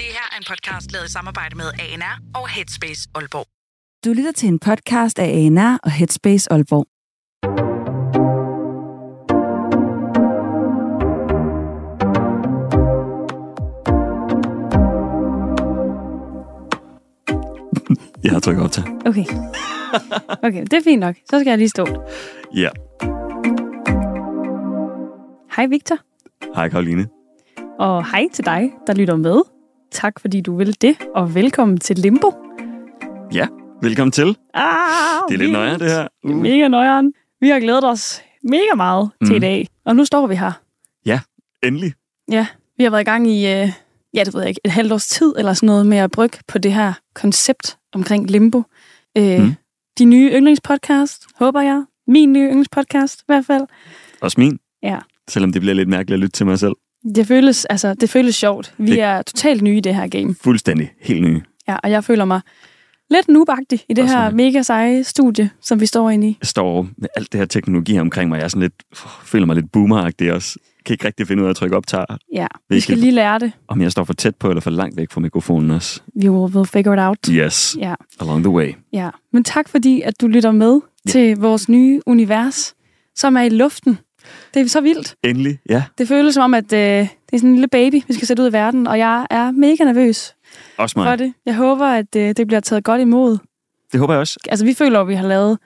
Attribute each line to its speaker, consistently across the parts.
Speaker 1: Det her er en podcast lavet i samarbejde med ANR og Headspace Aalborg.
Speaker 2: Du lytter til en podcast af ANR og Headspace Aalborg.
Speaker 3: Jeg har trykket op til.
Speaker 4: Okay. Okay, det er fint nok. Så skal jeg lige stå.
Speaker 3: Ja.
Speaker 4: Hej Victor,
Speaker 3: Hej Karoline.
Speaker 4: og hej til dig, der lytter med. Tak fordi du vil det, og velkommen til Limbo.
Speaker 3: Ja, velkommen til.
Speaker 4: Ah,
Speaker 3: Det er lidt nøjere, det her.
Speaker 4: Det er mega nøjeren. Vi har glædet os mega meget mm. til i
Speaker 3: Mhm.
Speaker 4: dag, og nu står vi her.
Speaker 3: Mm. Endelig.
Speaker 4: Vi har været i gang i, øh, ja det ved jeg ikke, et halvt års tid eller sådan noget med at brygge på det her koncept omkring Limbo. Øh,
Speaker 3: Mhm.
Speaker 4: mm. De nye yndlingspodcast, håber jeg. Min nye yndlingspodcast i hvert fald.
Speaker 3: Også min.
Speaker 4: Ja.
Speaker 3: Selvom det bliver lidt mærkeligt at lytte til mig selv.
Speaker 4: Det føles, altså, det føles sjovt. Vi
Speaker 3: Det-
Speaker 4: er totalt nye i det her game.
Speaker 3: Fuldstændig. Helt ny.
Speaker 4: Ja, og jeg føler mig lidt nubagtig i det
Speaker 3: Også
Speaker 4: her
Speaker 3: mig.
Speaker 4: mega seje studie, som vi står inde i.
Speaker 3: Jeg står med alt det her teknologi omkring mig. Jeg er sådan lidt, åh, føler mig lidt boomeragtig også. Kan ikke rigtig finde ud af at trykke optager.
Speaker 4: Ja, vi
Speaker 3: Virkelig.
Speaker 4: skal lige lære det.
Speaker 3: Om jeg står for tæt på eller for langt væk fra mikrofonen også.
Speaker 4: You will figure it out.
Speaker 3: Yes.
Speaker 4: Ja,
Speaker 3: Along the way.
Speaker 4: ja. Men tak fordi, at du lytter med
Speaker 3: Ja.
Speaker 4: til vores nye univers, som er i luften. Det er så vildt.
Speaker 3: Endelig. Ja.
Speaker 4: Det føles som om, at øh, det er sådan en lille baby, vi skal sætte ud i verden, og jeg er mega nervøs
Speaker 3: Også
Speaker 4: for
Speaker 3: mig.
Speaker 4: det. Jeg håber, at øh, det bliver taget godt imod.
Speaker 3: Det håber jeg også.
Speaker 4: Altså, vi føler, at vi har lavet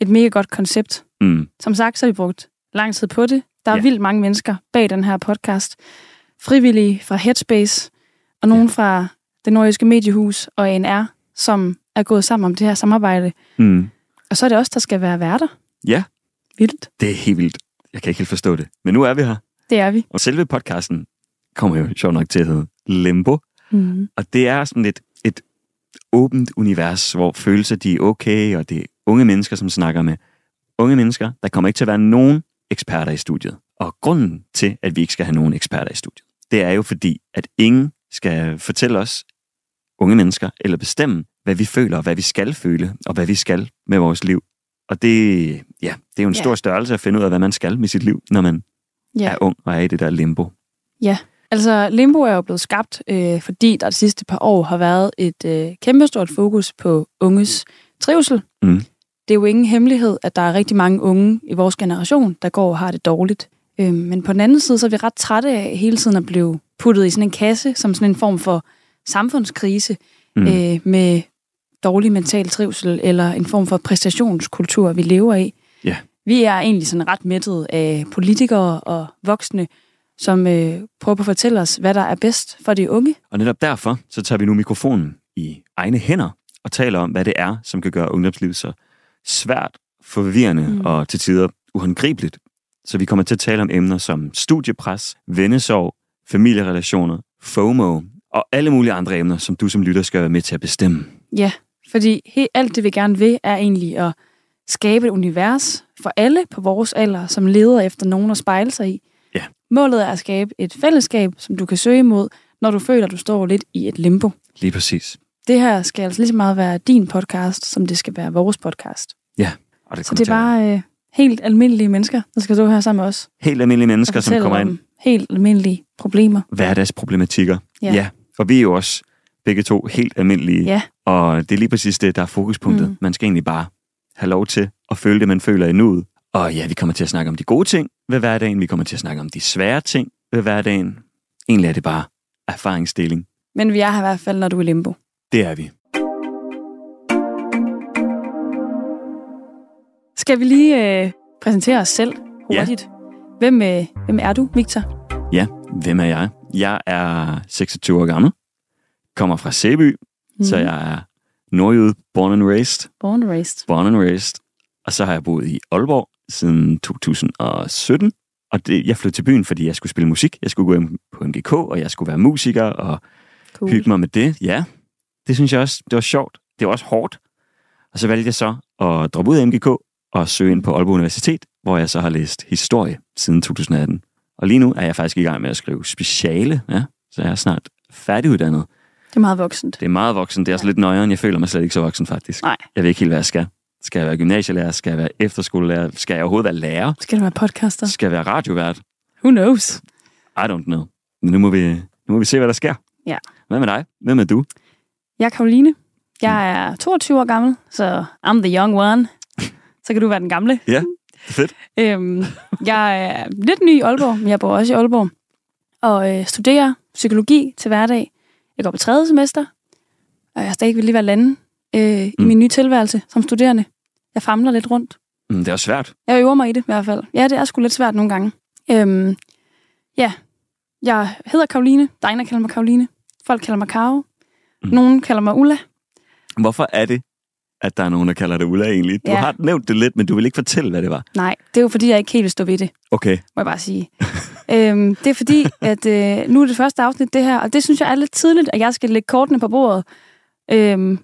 Speaker 4: et mega godt koncept,
Speaker 3: Mm.
Speaker 4: Som sagt, så har vi brugt lang tid på det. Der er
Speaker 3: Ja.
Speaker 4: ja. vildt mange mennesker bag den her podcast. Frivillige fra Headspace, og nogen ja. fra det nordjyske mediehus og ANR, som er gået sammen om det her samarbejde.
Speaker 3: Mm.
Speaker 4: Og så er det også der skal være værter.
Speaker 3: Ja.
Speaker 4: Vildt.
Speaker 3: Det er helt vildt. Jeg kan ikke helt forstå det. Men nu er vi her.
Speaker 4: Det er vi.
Speaker 3: Og selve podcasten kommer jo sjovt nok til at hedde Limbo.
Speaker 4: Mm.
Speaker 3: Og det er sådan et, et åbent univers, hvor følelser de er okay, og det er unge mennesker, som snakker med unge mennesker. Der kommer ikke til at være nogen eksperter i studiet. Og grunden til, at vi ikke skal have nogen eksperter i studiet, det er jo fordi, at ingen skal fortælle os, unge mennesker, eller bestemme, hvad vi føler, og hvad vi skal føle, og hvad vi skal med vores liv. Og det, ja, det er jo en
Speaker 4: Ja.
Speaker 3: stor størrelse at finde ud af, hvad man skal med sit liv, når man
Speaker 4: Ja.
Speaker 3: er ung og er i det der limbo.
Speaker 4: Altså, Limbo er jo blevet skabt, øh, fordi der de sidste par år har været et øh, kæmpestort fokus på unges trivsel.
Speaker 3: Mm.
Speaker 4: Det er jo ingen hemmelighed, at der er rigtig mange unge i vores generation, der går og har det dårligt. Øh, men på den anden side, så er vi ret trætte af hele tiden at blive puttet i sådan en kasse, som sådan en form for samfundskrise
Speaker 3: Mm.
Speaker 4: mm. øh, med dårlig mental trivsel, eller en form for præstationskultur, vi lever i.
Speaker 3: Ja.
Speaker 4: Vi er egentlig sådan ret mættet af politikere og voksne, som øh, prøver på at fortælle os, hvad der er bedst for de unge.
Speaker 3: Og netop derfor, så tager vi nu mikrofonen i egne hænder og taler om, hvad det er, som kan gøre ungdomslivet så svært, forvirrende mm.
Speaker 4: Mm.
Speaker 3: og til tider uhåndgribeligt. Så vi kommer til at tale om emner som studiepres, vennesorg, familierelationer, FOMO og alle mulige andre emner, som du som lytter skal være med til at bestemme.
Speaker 4: Ja, fordi he, alt det, vi gerne vil, er egentlig at skabe et univers for alle på vores alder, som leder efter nogen at spejle sig i.
Speaker 3: Ja.
Speaker 4: Målet er at skabe et fællesskab, som du kan søge imod, når du føler, du står lidt i et limbo.
Speaker 3: Lige præcis.
Speaker 4: Det her skal altså lige så meget være din podcast, som det skal være vores podcast.
Speaker 3: Og det
Speaker 4: Så
Speaker 3: kommer
Speaker 4: det
Speaker 3: til
Speaker 4: er
Speaker 3: at være
Speaker 4: bare øh, helt almindelige mennesker, der skal stå her sammen med os
Speaker 3: helt almindelige
Speaker 4: og
Speaker 3: mennesker, som
Speaker 4: fortælle
Speaker 3: kommer ind.
Speaker 4: om helt almindelige problemer.
Speaker 3: Hverdagsproblematikker.
Speaker 4: Ja.
Speaker 3: ja. Og vi er jo også begge to helt almindelige
Speaker 4: Ja,
Speaker 3: Og det er lige præcis det, der er fokuspunktet. Mm.
Speaker 4: Mm.
Speaker 3: Man skal egentlig bare have lov til at føle det, man føler i nuet. Og ja, vi kommer til at snakke om de gode ting ved hverdagen. Vi kommer til at snakke om de svære ting ved hverdagen. Egentlig er det bare erfaringsdeling.
Speaker 4: men vi er her i hvert fald, når du er i limbo.
Speaker 3: Det er vi.
Speaker 4: Skal vi lige øh, præsentere os selv
Speaker 3: Ja.
Speaker 4: hurtigt? Hvem, øh, hvem er du, Victor?
Speaker 3: Ja, hvem er jeg? Jeg er 26 år gammel. Kommer fra Sæby, mm. så jeg er nordjyde, born and raised.
Speaker 4: Born and raised.
Speaker 3: born and raised. Og så har jeg boet i Aalborg siden 2017. Og det, jeg flyttede til byen, fordi jeg skulle spille musik. Jeg skulle gå på MGK, og jeg skulle være musiker og
Speaker 4: Cool.
Speaker 3: hygge mig med det. Ja, det synes jeg også, det var sjovt. Det var også hårdt. Og så valgte jeg så at droppe ud af MGK og søge ind på Aalborg Universitet, hvor jeg så har læst historie siden 2018. Og lige nu er jeg faktisk i gang med at skrive speciale, ja, så jeg er snart færdiguddannet.
Speaker 4: Det er meget voksent.
Speaker 3: Det er meget voksen. Det er også lidt nøjeren. Jeg føler mig slet ikke så voksen, faktisk.
Speaker 4: Nej.
Speaker 3: Jeg ved ikke helt, hvad jeg skal. Skal jeg være gymnasielærer? Skal jeg være efterskolelærer? Skal jeg overhovedet være lærer?
Speaker 4: Skal du være podcaster?
Speaker 3: Skal jeg være radiovært?
Speaker 4: Who knows?
Speaker 3: I don't know. Men nu må vi, nu må vi se, hvad der sker.
Speaker 4: Ja.
Speaker 3: Hvad med dig? Hvem er du?
Speaker 4: Jeg er Karoline. Jeg
Speaker 3: Mm.
Speaker 4: er 22 år gammel, så I'm the young one. Så kan du være den gamle.
Speaker 3: Ja, fedt.
Speaker 4: Øhm, jeg er lidt ny i Aalborg, men jeg bor også i Aalborg. Og øh, studerer psykologi til hverdag. Jeg går på tredje semester, og jeg har stadig lige været lande øh, i
Speaker 3: Mm.
Speaker 4: min nye tilværelse som studerende. Jeg famler lidt rundt.
Speaker 3: Mm, det er også svært.
Speaker 4: Jeg øver mig i det i hvert fald. Ja, det er sgu lidt svært nogle gange. Øhm, ja, jeg hedder Karoline. Der er en, der kalder mig Karoline. Folk kalder mig Karo.
Speaker 3: Mm.
Speaker 4: Nogen kalder mig Ulla.
Speaker 3: Hvorfor er det, at der er nogen, der kalder det Ulla egentlig? Du
Speaker 4: Ja.
Speaker 3: har nævnt det lidt, men du vil ikke fortælle, hvad det var.
Speaker 4: Nej, det er jo fordi, jeg ikke helt vil stå ved det,
Speaker 3: Okay.
Speaker 4: må jeg bare sige. øhm, det er fordi, at øh, nu er det første afsnit det her, og det synes jeg er lidt tidligt, at jeg skal lægge kortene på bordet øhm,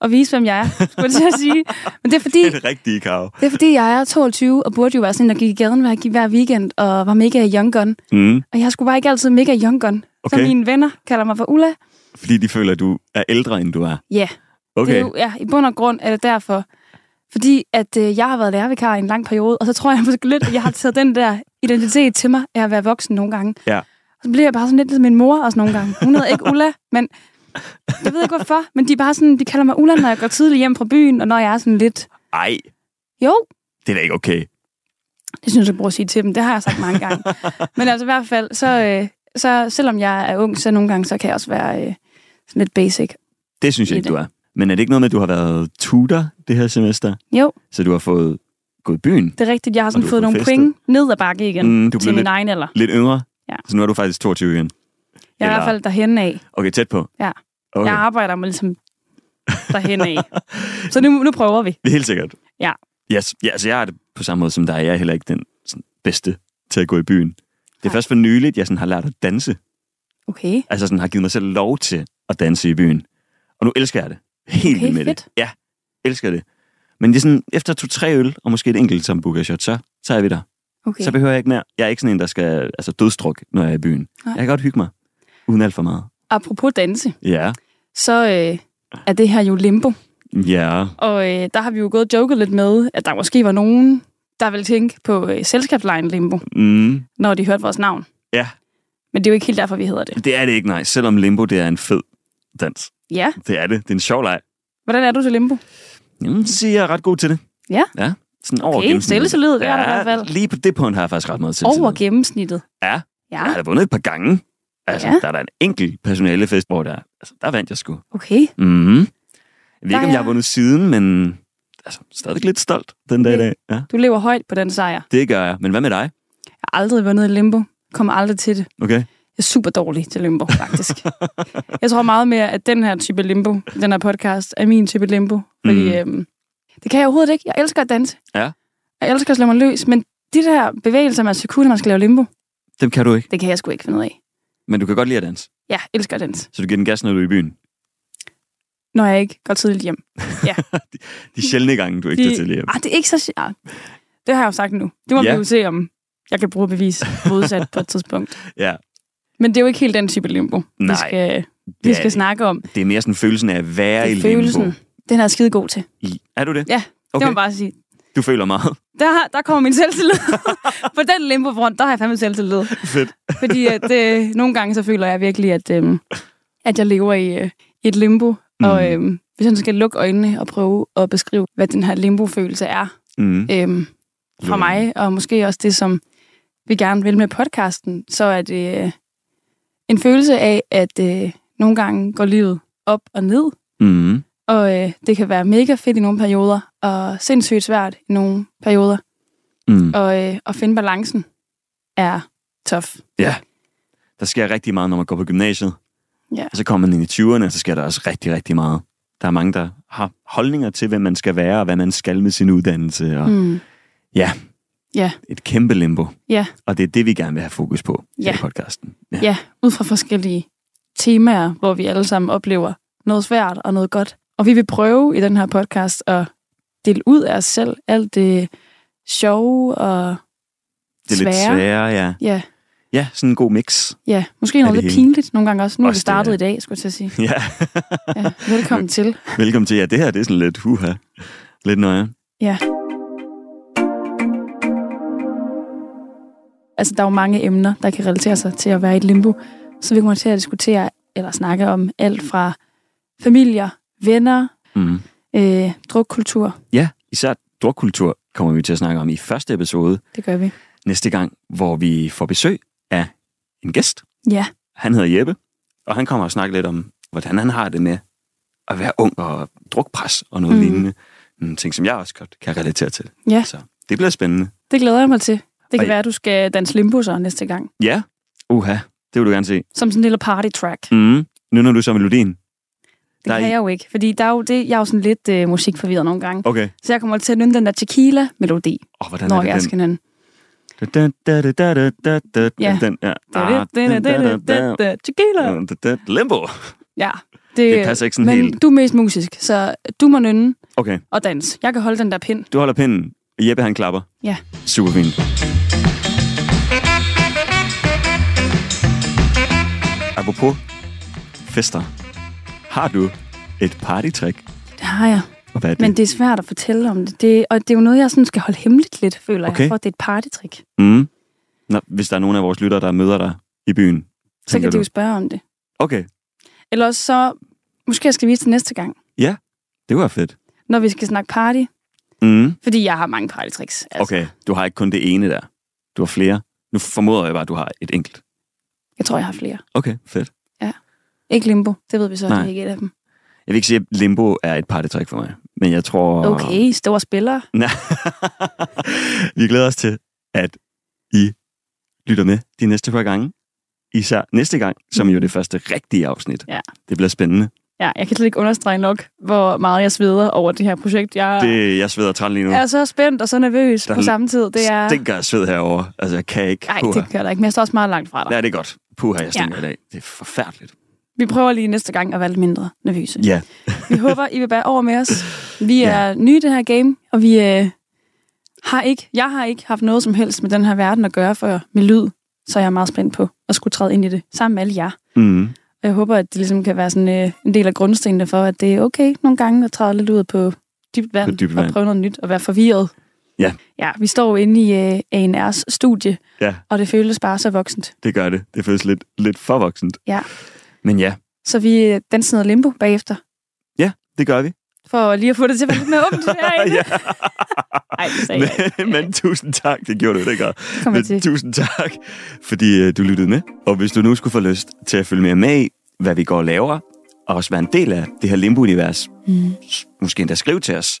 Speaker 4: og vise, hvem jeg er, skulle jeg til at sige. Men det er fordi,
Speaker 3: Det er det rigtige, Karo.
Speaker 4: det er fordi jeg er 22 og burde jo være sådan, en, der gik i gaden hver, hver weekend og var mega young gun.
Speaker 3: Mm,
Speaker 4: Og jeg skulle bare ikke altid mega young gun. Så
Speaker 3: Okay.
Speaker 4: mine venner kalder mig for Ulla.
Speaker 3: fordi de føler, at du er ældre, end du er.
Speaker 4: Ja, det er
Speaker 3: Okay.
Speaker 4: jo, ja, i bund og grund er det derfor. Fordi at øh, jeg har været lærervikar i en lang periode, og så tror jeg måske lidt, at jeg har taget den der identitet til mig af at være voksen nogle gange.
Speaker 3: Ja.
Speaker 4: Og så bliver jeg bare sådan lidt som min mor også nogle gange. Hun hedder ikke Ulla, men jeg ved ikke hvorfor, men de, er bare sådan, de kalder mig Ulla, når jeg går tidligt hjem fra byen, og når jeg er sådan lidt...
Speaker 3: Ej,
Speaker 4: Jo,
Speaker 3: det er da ikke okay.
Speaker 4: Det synes jeg, du burde sige til dem. Det har jeg sagt mange gange. Men altså i hvert fald, så, øh, så selvom jeg er ung, så nogle gange, så kan jeg også være øh, sådan lidt basic.
Speaker 3: Det synes jeg
Speaker 4: I
Speaker 3: ikke,
Speaker 4: det.
Speaker 3: du er. Men er det ikke noget med, at du har været tutor det her semester?
Speaker 4: Jo,
Speaker 3: Så du har fået gået i byen?
Speaker 4: det er rigtigt. Jeg har
Speaker 3: Og
Speaker 4: sådan
Speaker 3: du
Speaker 4: fået
Speaker 3: har
Speaker 4: nogle
Speaker 3: festet.
Speaker 4: point ned ad bakke igen
Speaker 3: Mm, du
Speaker 4: til
Speaker 3: blev
Speaker 4: min
Speaker 3: lidt,
Speaker 4: egen alder.
Speaker 3: lidt yngre?
Speaker 4: Ja.
Speaker 3: Så nu er du faktisk 22 igen?
Speaker 4: Jeg er i
Speaker 3: Eller-
Speaker 4: hvert fald derhen af.
Speaker 3: Okay, tæt på.
Speaker 4: Ja.
Speaker 3: Okay,
Speaker 4: Jeg
Speaker 3: ja.
Speaker 4: arbejder mig ligesom derhen af. Så nu, nu prøver vi.
Speaker 3: det er helt sikkert.
Speaker 4: Ja.
Speaker 3: Yes. Ja, altså jeg er det på samme måde som dig. Jeg er heller ikke den sådan, bedste til at gå i byen. Det er
Speaker 4: Nej.
Speaker 3: først for nyligt, jeg sådan, har lært at danse.
Speaker 4: Okay.
Speaker 3: Altså sådan, har givet mig selv lov til at danse i byen. Og nu elsker jeg det. Helt
Speaker 4: Okay,
Speaker 3: vildt med
Speaker 4: fedt.
Speaker 3: det. Ja, elsker det. Men det er sådan, efter to-tre øl, og måske et enkelt som shot, så, så er vi der.
Speaker 4: okay.
Speaker 3: Okay. Så behøver jeg ikke mere. Jeg er ikke sådan en, der skal altså, dødstruk, når jeg er i byen.
Speaker 4: Nej.
Speaker 3: Nej. Jeg kan godt hygge mig. Uden alt for meget.
Speaker 4: Apropos danse,
Speaker 3: Ja.
Speaker 4: så øh, er det her jo limbo.
Speaker 3: Ja.
Speaker 4: Og øh, der har vi jo gået og joket lidt med, at der måske var nogen, der ville tænke på øh, selskabslejen limbo,
Speaker 3: Mm.
Speaker 4: når de hørte vores navn.
Speaker 3: Ja.
Speaker 4: Men det er jo ikke helt derfor, vi hedder det.
Speaker 3: Det er det ikke, nej. Selvom limbo, det er en fed dans.
Speaker 4: Ja.
Speaker 3: Det er det. Det er en sjov leg.
Speaker 4: Hvordan er du til limbo?
Speaker 3: Jamen, så siger jeg, jeg er ret god til det.
Speaker 4: Ja.
Speaker 3: Ja. Sådan over
Speaker 4: Okay,
Speaker 3: gennemsnittet.
Speaker 4: selvtillid, det er der i
Speaker 3: ja,
Speaker 4: hvert fald.
Speaker 3: Lige på det punkt har jeg faktisk ret meget selvtillid.
Speaker 4: Over gennemsnittet.
Speaker 3: Ja.
Speaker 4: Ja,
Speaker 3: Jeg har da vundet et par gange. Altså,
Speaker 4: Ja.
Speaker 3: ja. der er da en enkelt personalefest, hvor der, altså, der vandt jeg sgu.
Speaker 4: okay.
Speaker 3: Mm-hmm. Jeg ved ikke,
Speaker 4: Der
Speaker 3: om jeg har
Speaker 4: er-
Speaker 3: vundet siden, men altså, stadig lidt stolt den dag i dag. Ja,
Speaker 4: Du lever højt på den sejr.
Speaker 3: det gør jeg. Men hvad med dig?
Speaker 4: Jeg har aldrig vundet i limbo. Kommer aldrig til det.
Speaker 3: Okay.
Speaker 4: Jeg er super dårlig til limbo, faktisk. jeg tror meget mere, at den her type limbo, den her podcast, er min type limbo. Fordi mm. øhm, det kan jeg overhovedet ikke. Jeg elsker at danse.
Speaker 3: Ja.
Speaker 4: Jeg elsker at slå mig løs, men de der bevægelser, man skal kunne, når man skal lave limbo,
Speaker 3: Dem kan du ikke,
Speaker 4: det kan jeg sgu ikke finde ud af.
Speaker 3: men du kan godt lide at danse.
Speaker 4: Ja, jeg elsker at danse,
Speaker 3: Så du giver den gas, når du er i byen.
Speaker 4: når jeg ikke går tidligt hjem.
Speaker 3: De sjældne gange, du ikke tager til lige.
Speaker 4: Ah, det er ikke så... sj- Ah, det har jeg jo sagt nu. Det må
Speaker 3: Ja.
Speaker 4: vi jo se, om jeg kan bruge bevis modsat på et tidspunkt.
Speaker 3: Ja,
Speaker 4: Men det er jo ikke helt den type limbo, vi
Speaker 3: Nej,
Speaker 4: skal, vi
Speaker 3: det
Speaker 4: skal
Speaker 3: er,
Speaker 4: snakke om.
Speaker 3: det er mere sådan følelsen af at være i
Speaker 4: Det er
Speaker 3: limbo.
Speaker 4: følelsen. Den er jeg skide god til. Okay.
Speaker 3: I, er du det?
Speaker 4: Ja, Det
Speaker 3: okay.
Speaker 4: må man bare sige.
Speaker 3: Du føler meget.
Speaker 4: Der, der kommer min selvtillid. på den limbo front, der har jeg fandme selvtillid.
Speaker 3: Fedt.
Speaker 4: Fordi at, øh, nogle gange så føler jeg virkelig, at, øh, at jeg lever i, øh, i et limbo. Mm. Og øh, hvis jeg nu skal lukke øjnene og prøve at beskrive, hvad den her limbo-følelse er
Speaker 3: Mm.
Speaker 4: øh, fra
Speaker 3: Jo.
Speaker 4: mig, og måske også det, som vi gerne vil med podcasten, så er det øh, en følelse af, at øh, nogle gange går livet op og ned,
Speaker 3: Mm.
Speaker 4: og øh, det kan være mega fedt i nogle perioder, og sindssygt svært i nogle perioder,
Speaker 3: Mm.
Speaker 4: og øh, at finde balancen er tough.
Speaker 3: Der sker rigtig meget, når man går på gymnasiet.
Speaker 4: Ja.
Speaker 3: Og så kommer man ind i 20'erne, og så sker der også rigtig, rigtig meget. Der er mange, der har holdninger til, hvem man skal være, og hvad man skal med sin uddannelse. Og mm.
Speaker 4: Mm.
Speaker 3: Et kæmpe limbo.
Speaker 4: Ja.
Speaker 3: Og det er det, vi gerne vil have fokus på
Speaker 4: Ja.
Speaker 3: i podcasten. Ja.
Speaker 4: Ja, ud fra forskellige temaer, hvor vi alle sammen oplever noget svært og noget godt. Og vi vil prøve i den her podcast at dele ud af os selv alt det sjove og
Speaker 3: Det er lidt
Speaker 4: svære.
Speaker 3: sværere, ja.
Speaker 4: Ja,
Speaker 3: Ja, sådan en god mix.
Speaker 4: ja. Måske noget
Speaker 3: det
Speaker 4: lidt
Speaker 3: hele.
Speaker 4: pinligt nogle gange også. Nu er vi
Speaker 3: Også det,
Speaker 4: startet
Speaker 3: ja.
Speaker 4: i dag, skulle jeg til at sige.
Speaker 3: Ja,
Speaker 4: Ja. Velkommen til.
Speaker 3: velkommen til. Ja, det her det er sådan lidt huha. Lidt nøje.
Speaker 4: Altså, der er jo mange emner, der kan relatere sig til at være i et limbo. Så vi kommer til at diskutere eller snakke om alt fra familier, venner,
Speaker 3: Mm.
Speaker 4: øh, drukkultur.
Speaker 3: Ja, især drukkultur kommer vi til at snakke om i første episode
Speaker 4: Det gør vi.
Speaker 3: næste gang, hvor vi får besøg af en gæst.
Speaker 4: Ja,
Speaker 3: Han hedder Jeppe, og han kommer og snakker lidt om, hvordan han har det med at være ung og drukpres og noget
Speaker 4: Mm.
Speaker 3: mm. lignende. En ting, som jeg også godt kan relatere til.
Speaker 4: Ja.
Speaker 3: Så det bliver spændende.
Speaker 4: det glæder jeg mig til. Det kan
Speaker 3: Og I-
Speaker 4: være, at du skal danse limbo så næste gang.
Speaker 3: Ja, uha, det vil du gerne se.
Speaker 4: Som sådan en lille party track.
Speaker 3: Mm. Nu når du så melodien.
Speaker 4: Det der
Speaker 3: er
Speaker 4: kan
Speaker 3: I-
Speaker 4: jeg jo ikke, fordi der er jo det, jeg er jo sådan lidt øh, musikforvirret nogle gange.
Speaker 3: Okay.
Speaker 4: Så jeg kommer til at nynne den der tequila-melodi,
Speaker 3: Åh, oh, hvordan
Speaker 4: når
Speaker 3: er det
Speaker 4: jeg
Speaker 3: den?
Speaker 4: skal nynne.
Speaker 3: Da, da, da, da, da, da, da,
Speaker 4: Ja.
Speaker 3: Ah, Den, ja.
Speaker 4: Det er det. Det er det. Det er det. Det er det. Tequila.
Speaker 3: Da, da, da, Limbo.
Speaker 4: Ja.
Speaker 3: Det passer ikke sådan
Speaker 4: men
Speaker 3: helt.
Speaker 4: du er mest musisk, så du må nynne
Speaker 3: Okay,
Speaker 4: og danse. Jeg kan holde den der pind.
Speaker 3: du holder pinden. og Jeppe, han klapper.
Speaker 4: Ja.
Speaker 3: Super fint. Apropos fester. Har du et partytrick?
Speaker 4: Det har jeg.
Speaker 3: Og hvad er det?
Speaker 4: Men det er svært at fortælle om det. det og det er jo noget, jeg sådan skal holde hemmeligt lidt, føler okay.
Speaker 3: Okay.
Speaker 4: jeg, for det er et partytrick.
Speaker 3: Mm. Nå, hvis der er nogen af vores lyttere, der møder dig i byen,
Speaker 4: Så
Speaker 3: tænker
Speaker 4: kan de
Speaker 3: du?
Speaker 4: jo spørge om det.
Speaker 3: Okay,
Speaker 4: Eller også så, måske jeg skal vise det næste gang,
Speaker 3: det var fedt.
Speaker 4: når vi skal snakke party.
Speaker 3: Mm.
Speaker 4: Fordi jeg har mange partytricks. Altså.
Speaker 3: Okay, du har ikke kun det ene der. Du har flere. Nu formoder jeg bare, at du har et enkelt.
Speaker 4: Jeg tror, jeg har flere.
Speaker 3: Okay, fedt.
Speaker 4: Ikke limbo. Det ved vi så, Nej. det
Speaker 3: Nej.
Speaker 4: er ikke et af dem.
Speaker 3: Jeg vil ikke sige, at limbo er et partytrick for mig, men jeg tror...
Speaker 4: Okay, store spillere.
Speaker 3: Nej. Vi glæder os til, at I lytter med de næste par gange. Især næste gang, som jo er det første rigtige afsnit.
Speaker 4: Ja.
Speaker 3: Det bliver spændende.
Speaker 4: Ja, jeg kan slet ikke understrege nok, hvor meget jeg sveder over det her projekt. Jeg
Speaker 3: Det, jeg sveder træt lige nu.
Speaker 4: er så spændt og så nervøs
Speaker 3: Der
Speaker 4: på samme tid. Det er...
Speaker 3: Stinker jeg sved herovre. Altså, jeg kan ikke.
Speaker 4: Nej,
Speaker 3: Puha.
Speaker 4: det gør der ikke, men jeg står også meget langt fra dig.
Speaker 3: Ja, det er godt. Puha, jeg stinker ja. i dag. Det er forfærdeligt.
Speaker 4: Vi prøver lige næste gang at være lidt mindre nervøse.
Speaker 3: Ja,
Speaker 4: Vi håber, I vil bære over med os. Vi
Speaker 3: Ja.
Speaker 4: er nye i det her game, og vi øh, har ikke, jeg har ikke haft noget som helst med den her verden at gøre før med lyd, så jeg er meget spændt på at skulle træde ind i det sammen med alle jer.
Speaker 3: mm.
Speaker 4: Og jeg håber, at det ligesom kan være sådan øh, en del af grundstenene for, at det er okay nogle gange at træde lidt ud på dybt vand,
Speaker 3: På dybt
Speaker 4: og
Speaker 3: vand.
Speaker 4: prøve noget nyt og være forvirret.
Speaker 3: Ja.
Speaker 4: Ja, vi står jo inde i øh, ANR's studie,
Speaker 3: ja
Speaker 4: og det føles bare så voksent.
Speaker 3: det gør det. Det føles lidt, lidt for voksent.
Speaker 4: Ja.
Speaker 3: Men ja,
Speaker 4: Så vi øh, danser noget limbo bagefter,
Speaker 3: det gør vi.
Speaker 4: for lige at få det til at være lidt mere åbent herinde.
Speaker 3: Ja.
Speaker 4: Ej, det sagde jeg ikke.
Speaker 3: men, men tusind tak, det gjorde du, det gør.
Speaker 4: Det kommer jeg til.
Speaker 3: Men tusind tak, fordi øh, du lyttede med. Og hvis du nu skulle få lyst til at følge mere med i, hvad vi går og laver, og også være en del af det her Limbo-univers, mm. måske endda skrive til os,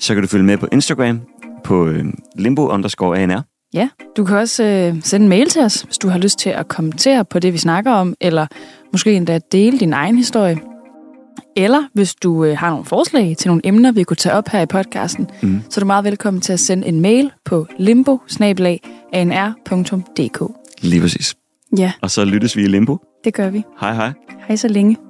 Speaker 3: så kan du følge med på Instagram på øh, limbo underscore ANR.
Speaker 4: Ja, du kan også øh, sende en mail til os, hvis du har lyst til at kommentere på det, vi snakker om, eller måske endda dele din egen historie. Eller hvis du øh, har nogle forslag til nogle emner, vi kunne tage op her i podcasten, mm. så er du meget velkommen til at sende en mail på limbo
Speaker 3: Lige præcis.
Speaker 4: Ja,
Speaker 3: Og så lyttes vi i Limbo.
Speaker 4: det gør vi.
Speaker 3: Hej hej.
Speaker 4: Hej så længe.